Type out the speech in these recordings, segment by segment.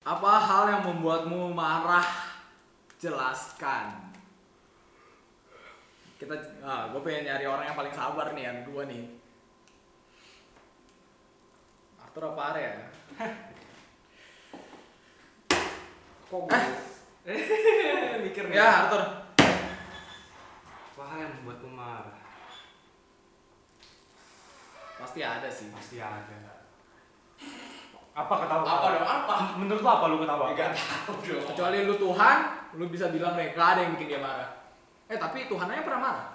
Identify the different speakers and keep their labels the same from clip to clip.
Speaker 1: Apa hal yang membuatmu marah? Jelaskan. Kita, ah, gue pengen nyari orang yang paling sabar nih, yang dua nih. Arthur apa Arya?
Speaker 2: Kok
Speaker 1: Eh.
Speaker 2: mikir nih.
Speaker 1: Ya Arthur.
Speaker 2: Apa hal yang membuatmu marah?
Speaker 1: Pasti ada sih.
Speaker 2: Pasti ada. Apa ketawa? Ah,
Speaker 3: Apa dong? Apa?
Speaker 2: Menurut lo apa lo ketawa?
Speaker 3: Enggak tahu dong.
Speaker 1: Kecuali lu Tuhan, lu bisa bilang deh, gak ada yang bikin dia marah. Eh tapi Tuhan aja pernah marah.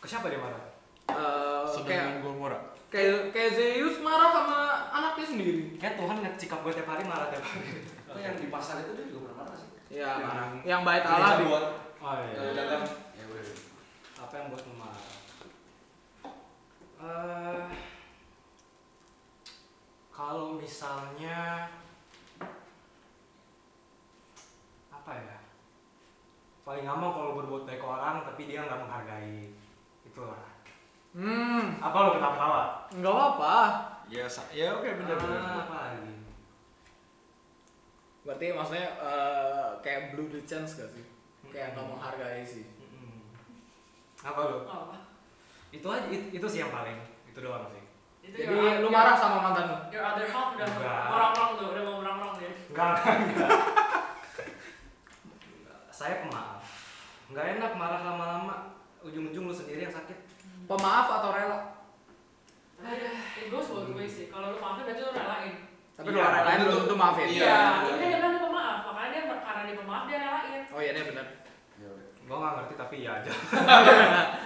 Speaker 2: Ke siapa dia marah?
Speaker 1: Eh, kayak,
Speaker 3: Sedangkan Gomora.
Speaker 1: kayak kayak Zeus marah sama anaknya sendiri.
Speaker 2: Kayak Tuhan ngeliat sikap gue tiap hari marah tiap hari.
Speaker 3: Itu yang di pasar itu dia juga pernah Iya, marah sih.
Speaker 1: Ya,
Speaker 2: Yang-
Speaker 1: marah. Yang baik
Speaker 3: Ini
Speaker 1: Allah di-
Speaker 3: jagoan.
Speaker 2: Oh
Speaker 3: Ya
Speaker 2: iya.
Speaker 3: udah kan. Ya udah.
Speaker 2: Apa yang buat lo marah? Eh, kalau misalnya apa ya? Paling gampang kalau berbuat baik ke orang tapi dia nggak menghargai. Itulah.
Speaker 1: Hmm,
Speaker 2: Apa lo ketawa-ketawa?
Speaker 1: nggak apa-apa.
Speaker 3: Ya, sa- ya oke benar benar.
Speaker 2: Ah,
Speaker 3: benar.
Speaker 2: apa lagi?
Speaker 1: Berarti maksudnya eh, kayak blue the chance gak sih?
Speaker 3: Hmm.
Speaker 1: Kayak nggak
Speaker 2: Mm-mm.
Speaker 1: menghargai sih.
Speaker 2: Mm-mm. Apa lo?
Speaker 4: Apa?
Speaker 2: Itu aja it- itu sih yang paling. Itu doang sih.
Speaker 4: Itu
Speaker 1: Jadi lu
Speaker 3: ya.
Speaker 4: your- your-
Speaker 1: marah sama mantan lu?
Speaker 4: Your other half udah
Speaker 2: Enggak.
Speaker 4: merong-rong tuh, udah mau merong-rong dia.
Speaker 2: Enggak, enggak, enggak. Saya pemaaf. Enggak enak marah lama-lama. Ujung-ujung lu sendiri yang sakit.
Speaker 1: Pemaaf atau rela?
Speaker 4: Tapi it goes both ways sih. Kalau lu maafin berarti lu relain.
Speaker 1: Tapi
Speaker 2: Iya,
Speaker 1: kalau relain
Speaker 3: itu
Speaker 1: itu
Speaker 3: tuh-
Speaker 1: itu maafin.
Speaker 3: Iya.
Speaker 4: Ini dia bilang dia pemaaf, makanya dia karena dia pemaaf dia relain.
Speaker 1: Oh iya, ini benar.
Speaker 3: Ya udah.
Speaker 2: Gua enggak ngerti tapi ya aja.